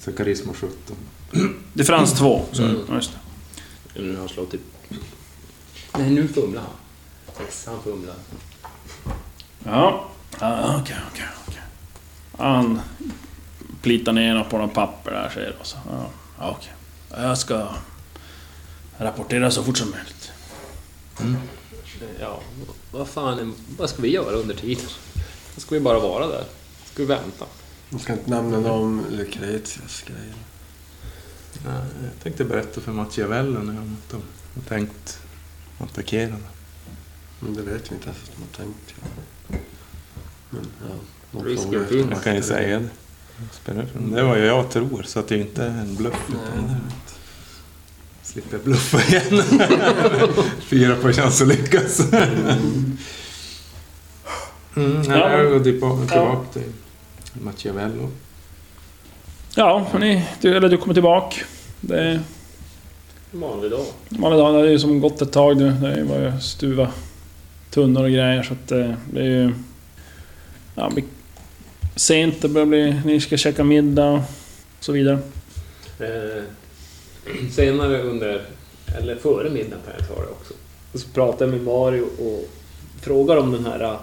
Speaker 14: Så karisma 17.
Speaker 2: Differens 2.
Speaker 14: Mm.
Speaker 2: Just
Speaker 4: Nu har han slagit typ... Nej, nu fumlar han. Yes, han fumlar.
Speaker 2: Ja, Ja, Ah, okej, okej, okej. Han plitar ner något på något papper där säger och så. Ja, ja, Ah, okej. Jag ska rapportera så fort som möjligt.
Speaker 4: Ja, vad fan... är- Vad ska vi göra under tiden? Ska vi bara vara där? Ska vi vänta?
Speaker 5: Man ska inte nämna någon Lucretias grejer.
Speaker 3: Nej, jag tänkte berätta för Machiavello när jag mötte honom. Jag tänkt attackera honom.
Speaker 5: Men det vet vi inte ens att man tänkt. Men ja. någon
Speaker 3: Risken
Speaker 5: frågar
Speaker 3: finns.
Speaker 5: efter
Speaker 3: Jag kan ju
Speaker 5: det.
Speaker 3: säga det. Spelar för dem. Det var ju jag tror, så att det är inte en bluff. Utan det är ett- Slipper jag bluffa igen. Fyra på chans att lyckas. Mm, nej, jag går tillbaka, tillbaka till Machiavello.
Speaker 2: Ja, ni, du, eller du kommer tillbaka. Det är
Speaker 4: Vanlig dag.
Speaker 2: vanlig dag, det är ju som gått ett tag nu. Det är ju bara stuva tunnor och grejer så att eh, det är ju... Ja, bli sent, det börjar bli... Ni ska käka middag och så vidare.
Speaker 4: Eh, senare under, eller före middag kan jag ta det också. Och så pratar jag med Mario och frågar om den här...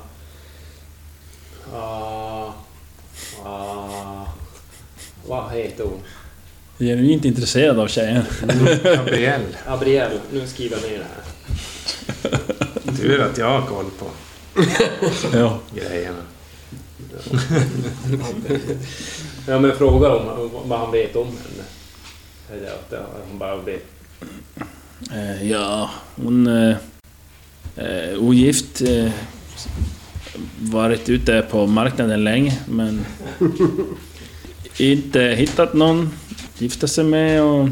Speaker 4: ah ah vad heter hon?
Speaker 2: Genuint intresserad av tjejen.
Speaker 3: Gabriel.
Speaker 4: Abriel. Nu skriver jag ner det här.
Speaker 3: Tur att jag har koll på
Speaker 2: ja.
Speaker 3: grejerna.
Speaker 4: ja, men jag frågar om vad han vet om henne. Eller att det- hon bara vet.
Speaker 2: Eh, ja, hon... Eh, eh, ogift. Eh, varit ute på marknaden länge, men... inte hittat någon. Gifta sig med och...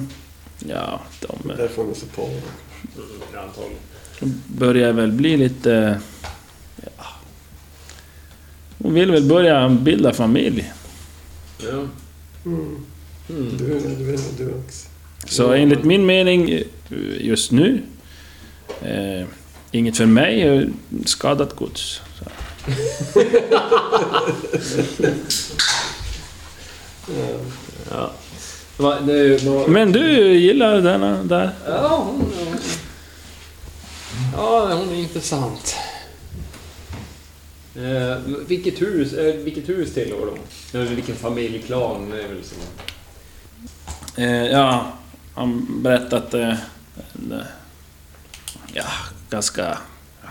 Speaker 2: Ja, de...
Speaker 5: Det får man se på.
Speaker 4: Antagligen.
Speaker 2: börjar väl bli lite... Ja. Hon vill väl börja bilda familj.
Speaker 4: Ja.
Speaker 5: Mm. Du, du, du, du också.
Speaker 2: Så enligt min mening eh, just nu, eh, inget för mig, eh, skadat gods. Så.
Speaker 4: Ja. Va, nu, va,
Speaker 2: Men du gillar denna där?
Speaker 16: Ja, hon... Ja, hon är intressant.
Speaker 4: eh, vilket, hus, eh, vilket hus tillhör de? Eller vilken familjklan? Det är väl så.
Speaker 2: Eh, ja, han berättade att... Eh, en, eh, ja, ganska... ja,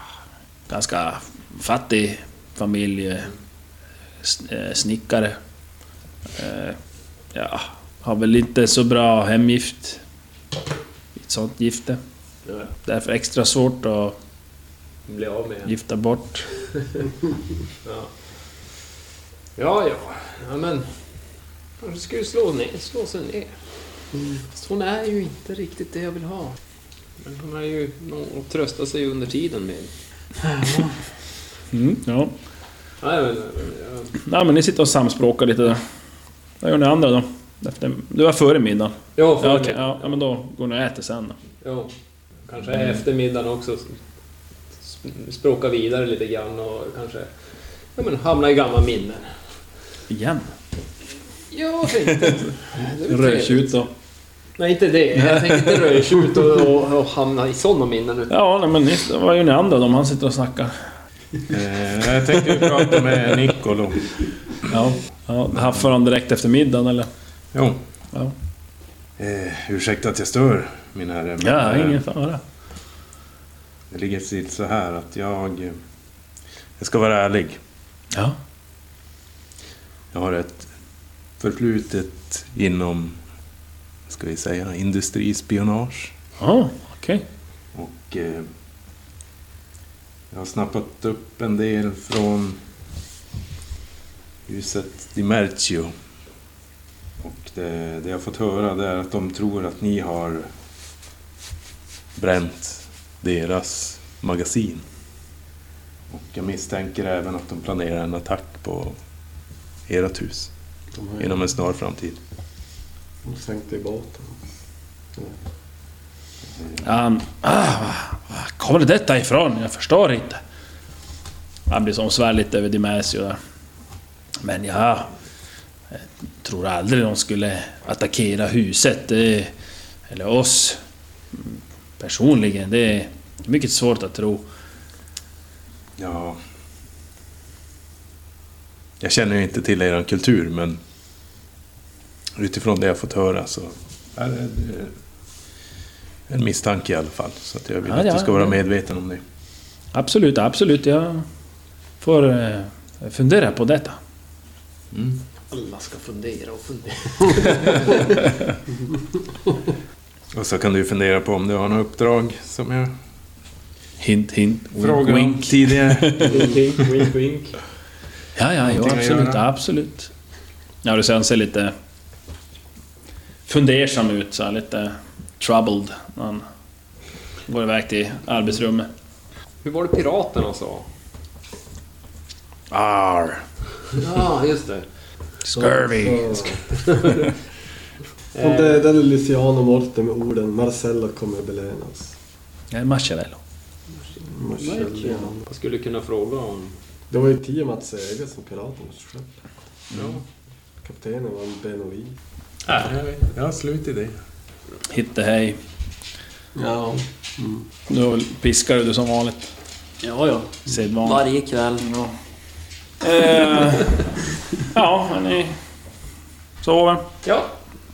Speaker 2: Ganska fattig familj. eh, s- eh, Snickare. Eh, ja, har väl inte så bra hemgift. Ett sånt gifte.
Speaker 4: Nej.
Speaker 2: Därför extra svårt att
Speaker 4: Bli av med.
Speaker 2: gifta bort.
Speaker 4: ja.
Speaker 16: Ja, ja. ja men... Kanske ska ju slå, ner, slå sig ner. Fast Mm. hon är ju inte riktigt det jag vill ha. Men hon är ju någon att trösta sig under tiden med.
Speaker 2: Mm, ja.
Speaker 4: Nej, men, ja.
Speaker 2: Nej, men ni sitter och samspråkar lite där. Vad gör ni andra då? Efter, det var före middagen?
Speaker 4: Ja, före
Speaker 2: ja, okej,
Speaker 4: middagen.
Speaker 2: ja, ja, men då går ni och äter sen då.
Speaker 4: Jo, kanske eftermiddagen också. sp- Språka vidare lite grann och kanske ja, men hamna i gamla minnen.
Speaker 2: Igen?
Speaker 4: Ja, tänkte
Speaker 2: Rödtjut då.
Speaker 4: Nej, inte det. Jag tänkte inte röja ut och, och, och hamna i sådana minnen. utan-
Speaker 2: Ja, nej, men ni, vad gör ni andra då om han sitter och snackar?
Speaker 3: Eh, jag tänkte prata med Niccolo.
Speaker 2: Ja, ja haffar han direkt efter middagen eller?
Speaker 3: Jo.
Speaker 2: Ja.
Speaker 3: Eh, ursäkta att jag stör, min herre. men,
Speaker 2: Ja,
Speaker 3: eh,
Speaker 2: ingen fara.
Speaker 3: Det ligger till så här att jag... eh, Jag ska vara ärlig.
Speaker 2: Ja.
Speaker 3: Jag har ett förflutet inom, ska vi säga, industrispionage.
Speaker 2: Ja, okej.
Speaker 3: Och eh, jag har snappat upp en del från huset Di Mercio. Och det, det jag fått höra det är att de tror att ni har bränt deras magasin. Och jag misstänker även att de planerar en attack på ert hus
Speaker 5: De har-
Speaker 3: inom en snar framtid.
Speaker 5: De sänkte i båten.
Speaker 2: Han... Ah, var- var kommer detta ifrån? Jag förstår inte. Han blir som svär lite över Dimesio där. Men ja... Jag tror aldrig de skulle attackera huset. Det, eller oss. Mm, Personligen. Det är mycket svårt att tro.
Speaker 3: Ja. Jag känner ju inte till er kultur, men utifrån det jag fått höra så är det eh, en misstanke i alla fall. Så att jag vill
Speaker 2: Ja,
Speaker 3: att
Speaker 2: ja,
Speaker 3: du ska vara
Speaker 2: ja.
Speaker 3: medveten om det.
Speaker 2: Absolut, absolut. Jag får eh, fundera på detta.
Speaker 4: Alla ska fundera och fundera.
Speaker 3: Och så kan du fundera på om du har några uppdrag som jag
Speaker 2: Hint, hint.
Speaker 3: frågade om
Speaker 2: Wink.
Speaker 3: tidigare.
Speaker 4: wink, wink, wink.
Speaker 2: Ja, ja, jo,
Speaker 3: Någonting att
Speaker 2: absolut,
Speaker 3: göra.
Speaker 2: absolut. Ja, du ser han ser lite fundersam ut, så här, lite troubled när han går iväg till arbetsrummet.
Speaker 16: Hur var det piraterna sa?
Speaker 3: Arr.
Speaker 16: Ja, just det.
Speaker 5: Scurvy. De dödade Luciano Morte med orden Marcello kommer belönas.
Speaker 2: Nej, Marcello.
Speaker 5: Marcello.
Speaker 16: Jag skulle kunna fråga om...
Speaker 5: Det var ju Tiamats öga som piraternas skepp.
Speaker 16: Ja.
Speaker 5: Kaptenen var en Benoi.
Speaker 3: Ja, jag vet. Jag har slut i det.
Speaker 2: Hitta hej.
Speaker 5: Ja.
Speaker 2: Du har väl piskar du som vanligt?
Speaker 9: Ja, ja.
Speaker 2: Sedvanligt.
Speaker 9: Varje kväll.
Speaker 2: Eh, ja, men ni sover.
Speaker 4: Ja,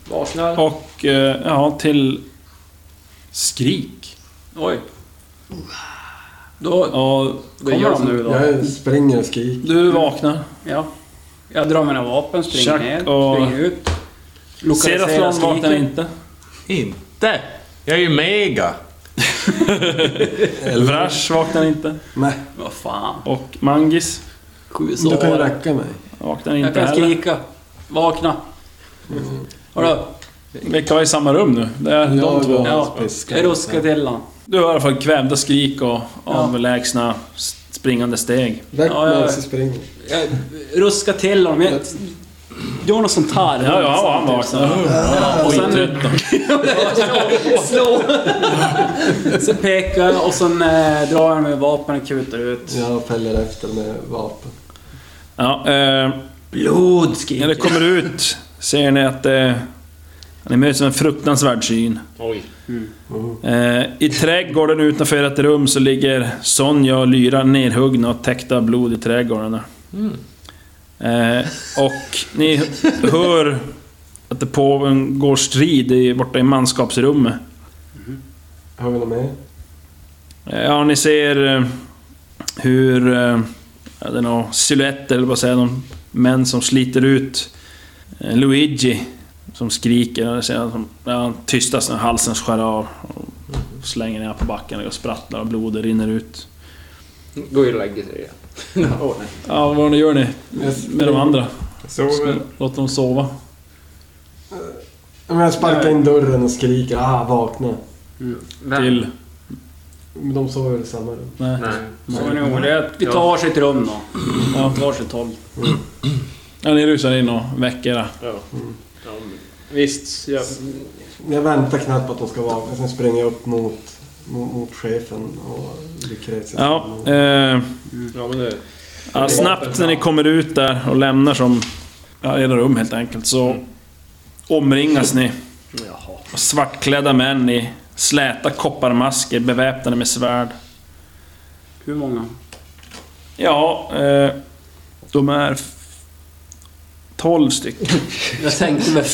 Speaker 4: vaknar.
Speaker 2: Och eh, ja, till skrik.
Speaker 9: Oj. Då...
Speaker 2: Ja,
Speaker 9: Vad gör de nu då?
Speaker 5: Jag springer och skriker.
Speaker 2: Du vaknar.
Speaker 9: Ja. Jag drar mina vapen, springer
Speaker 2: Tjack
Speaker 9: ner,
Speaker 2: och-
Speaker 9: springer ut.
Speaker 2: Seraflon vaknar inte.
Speaker 3: Inte? Jag är ju mega!
Speaker 2: Vrash vaknar inte.
Speaker 5: Nej.
Speaker 9: Vad fan.
Speaker 2: Och Mangis.
Speaker 9: Sju
Speaker 5: Du kan ju
Speaker 9: sår.
Speaker 5: räcka mig.
Speaker 2: Vaknar
Speaker 9: Jag
Speaker 2: inte
Speaker 9: kan
Speaker 2: heller.
Speaker 9: skrika. Vakna. Hallå.
Speaker 2: Vilka var i samma rum nu? Det är de
Speaker 5: Jag
Speaker 2: två.
Speaker 5: var
Speaker 9: Ja,
Speaker 5: piskad.
Speaker 9: Eroskadillan.
Speaker 2: Du har i alla fall kvävda skrik och avlägsna s- springande steg.
Speaker 5: Väck
Speaker 9: Ja,
Speaker 5: mig
Speaker 9: ja, ja.
Speaker 5: så springer
Speaker 9: Jag ruskar till dem. Jag gör något sånt här.
Speaker 2: Ja, ja, han vaknar.
Speaker 9: Ja, och sen... Slå! Så pekar jag och sen eh, drar jag med vapen och kutar ut.
Speaker 5: Jag fäller efter med vapen.
Speaker 2: Ja, eh,
Speaker 9: Blod
Speaker 2: När det kommer ut ser ni att eh, ni möts av en fruktansvärd syn.
Speaker 4: Oj.
Speaker 2: Eh, I trädgården utanför ett rum så ligger Sonja och Lyra nerhuggna och täckta av blod i trädgården.
Speaker 4: Mm.
Speaker 2: Eh, och ni hör att det pågår strid i- borta i manskapsrummet.
Speaker 5: Har vi något mer?
Speaker 2: Eh, Ja, ni ser eh, hur... eh, ja, Det är några silhuetter, eller vad säger de? Män som sliter ut eh, Luigi. Som skriker, och ni ser att han- ja, han tystas när halsen skär av. Och slänger ner på backen och sprattlar och blodet rinner ut.
Speaker 4: Går ju och lägger sig igen. Åh, nej.
Speaker 2: Ja, vad gör ni med de andra?
Speaker 5: Sover.
Speaker 2: Låt dem sova.
Speaker 5: Ja, men Jag sparkar in dörren och skriker ah, vakna.
Speaker 2: Till?
Speaker 5: Men de sover väl i samma rum?
Speaker 2: Nej.
Speaker 9: Så är ni oroliga. Vi tar varsitt rum då.
Speaker 2: Ja.
Speaker 9: Varsitt håll.
Speaker 2: Ja, ni rusar in och väcker era.
Speaker 4: Ja. Ja, men visst, jag...
Speaker 5: Jag väntar knappt på att de ska vakna, sen springer jag upp mot, mot, mot chefen och Lucretius.
Speaker 2: Ja, eh,
Speaker 4: Ja, men det...
Speaker 2: ja, snabbt när ni kommer ut där och lämnar som ja, era rum helt enkelt så omringas ni
Speaker 4: Jaha.
Speaker 2: av svartklädda män i släta kopparmasker beväpnade med svärd.
Speaker 9: Hur många?
Speaker 2: Ja, eh, de är f- 12 stycken.
Speaker 9: Jag tänkte väl...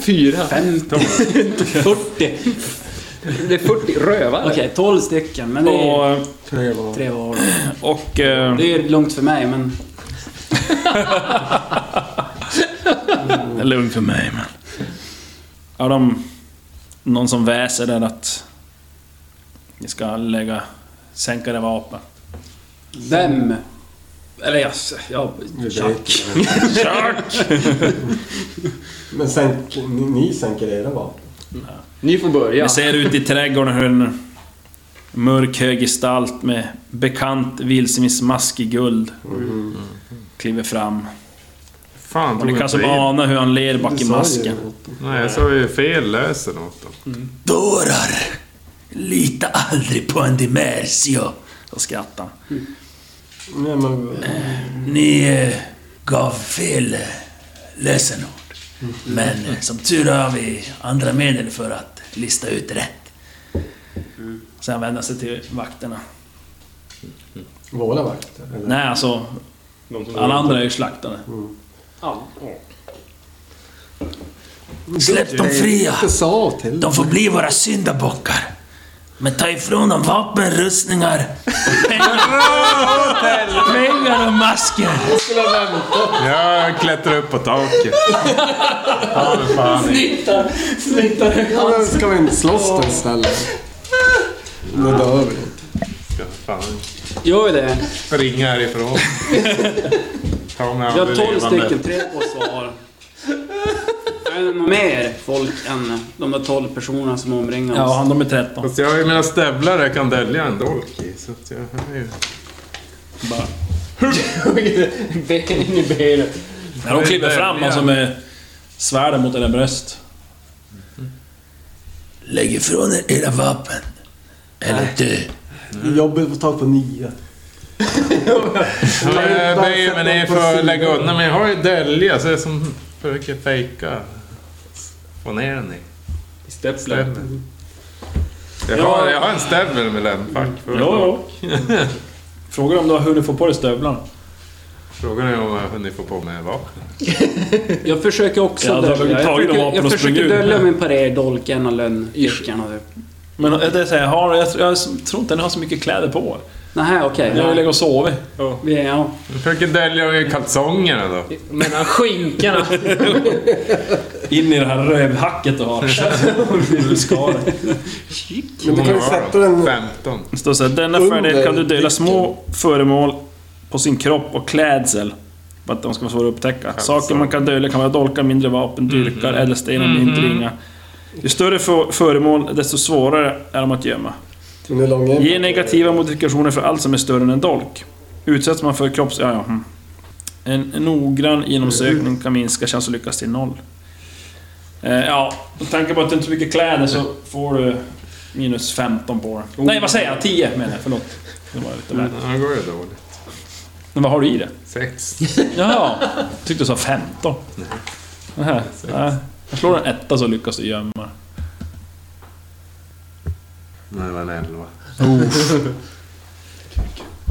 Speaker 4: Fyra?
Speaker 9: 50? 40?
Speaker 4: Det är 40 rövare.
Speaker 9: Okej, 12 stycken. Men det är
Speaker 2: Och,
Speaker 5: Tre var.
Speaker 9: tre var.
Speaker 2: och, eh,
Speaker 9: Det är lugnt för mig, men...
Speaker 2: Det är lugnt för mig men... Ja, de... Någon som väser där att... Ni ska lägga... Sänka det vapen.
Speaker 9: Vem? Eller jag... jag
Speaker 5: Jack.
Speaker 2: Chuck!
Speaker 5: Men sänk, ni, ni sänker era vapen?
Speaker 4: Ni får börja.
Speaker 2: Ni ser ut i trädgården hur en mörk hög gestalt med bekant vildsvinsmask i guld kliver fram.
Speaker 17: Fan,
Speaker 2: Och ni
Speaker 17: tog
Speaker 2: kan
Speaker 17: inte
Speaker 2: som
Speaker 17: in.
Speaker 2: ana hur han ler bak i masken.
Speaker 17: Nej, jag sa ju fel lösen åt dem.
Speaker 2: Dårar! Lita aldrig på en dimersio! Då skrattar han.
Speaker 5: Nej, men,
Speaker 18: Ni eh, gav fel eh, lösenord. Men eh, som tur är har vi andra medel för att lista ut rätt.
Speaker 2: Sen vänder han sig till vakterna.
Speaker 5: våra vakter? Eller?
Speaker 2: Nej, alltså...
Speaker 4: som
Speaker 2: Alla andra är ju slaktade.
Speaker 4: Ja.
Speaker 18: Mm. Släpp dem fria!
Speaker 5: Jag sa till
Speaker 18: De får bli våra syndabockar. Men ta ifrån dem vapen, rustningar, pengar och masker.
Speaker 17: Jag klättrar upp på taket. Ja, men fan.
Speaker 9: Snittar! Snittar
Speaker 5: Ja, men ska vi inte slåss då istället? Nu dör vi.
Speaker 17: Ska fan
Speaker 9: Gör det.
Speaker 17: springa härifrån. Ta mig
Speaker 9: Jag har
Speaker 17: aldrig
Speaker 9: 12
Speaker 17: levande.
Speaker 9: stycken, tre på svar. Är det något mer folk än de där 12 personerna som omringar oss?
Speaker 2: Ja, han, de är 13.
Speaker 17: Fast jag har ju mina stövlar jag kan dölja en dolk i. Så att jag har ju...
Speaker 2: Bara...
Speaker 4: Ben in i benet.
Speaker 2: När de kliver fram alltså med svärden mot era bröst.
Speaker 18: Lägg ifrån er era vapen. Eller dö.
Speaker 2: Mm.
Speaker 5: Jobbigt att få tag på nya.
Speaker 17: Ja, jag böjer mig ner för att lägga undan men jag har ju dölja så jag som försöker fejka. Få ner den i
Speaker 4: Stäpplen.
Speaker 17: stöveln. Jag har, jag har en stövel med ländfack. för-
Speaker 2: Jo, jo. Frågan om du har hunnit få på dig stövlarna.
Speaker 17: Frågan är om jag har hunnit få på mig vapen.
Speaker 9: Jag försöker också
Speaker 2: Ja, då har vi
Speaker 9: dölja. Jag
Speaker 2: tagit dem
Speaker 9: försöker,
Speaker 2: vapen och
Speaker 9: jag försöker
Speaker 2: sprungit ut.
Speaker 9: dölja min parerdolk, en av lönnyrkarna. typ.
Speaker 2: Men eh, det säger, har, jag, jag tror inte ni har så mycket kläder på er.
Speaker 9: Nähä, okej.
Speaker 2: Ni har ju legat och sovit.
Speaker 9: Vi är- Ja.
Speaker 17: Jag försöker dölja i kalsongerna då.
Speaker 4: Mellan skinkorna.
Speaker 2: In i det här rövhacket du har. Muskaren.
Speaker 5: Men du kan ju sätta den...
Speaker 17: 15.
Speaker 2: Det står såhär, denna
Speaker 5: Under
Speaker 2: färdighet kan du dela små föremål på sin kropp och klädsel. För att de ska vara svåra att upptäcka. Saker man kan dölja kan vara dolkar, mindre vapen, dyrkar, ädelstenar, mindre ringar. Ju större för- föremål, desto svårare är de att gömma.
Speaker 5: Men hur lång är den?
Speaker 2: Ge negativa modifikationer för allt som är större än en dolk. Utsätts man för kropps... Ja, ja. hm. En noggrann genomsökning kan minska chans att lyckas till noll. Eh, ja, med tanke på att du inte har mycket kläder så får du minus 15 på den. Nej, vad säger jag? 10 menar jag. Förlåt. Det var lite väl.
Speaker 17: Ja, det går ju dåligt.
Speaker 2: Men vad har du i det?
Speaker 17: Sex.
Speaker 2: Jaha, jag tyckte du sa 15. Nej. Nej. Jag slår en etta så lyckas du gömma
Speaker 17: Nej, det var en elva.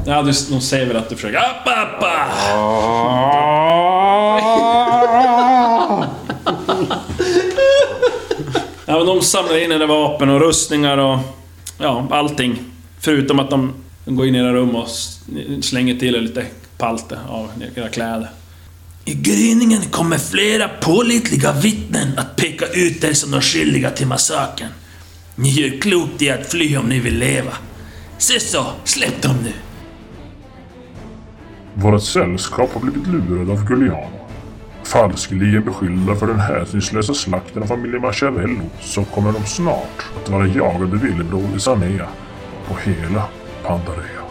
Speaker 2: Ja, du, de säger väl att du försöker... Upp, upp, Ja, men de samlar in era vapen och rustningar och ja, allting. Förutom att de går in i era rum och s- slänger till er lite palter av era kläder.
Speaker 18: I gryningen kommer flera pålitliga vittnen att peka ut er som de skyldiga till massakern. Ni gör klokt i att fly om ni vill leva. Se så, släpp dem nu!
Speaker 1: Vårt sällskap har blivit lurade av Gugliano. Falskeligen beskyllda för den hänsynslösa slakten av familjen Machiavello så kommer de snart att vara jagade villebråd i Sanea och hela Pandaria.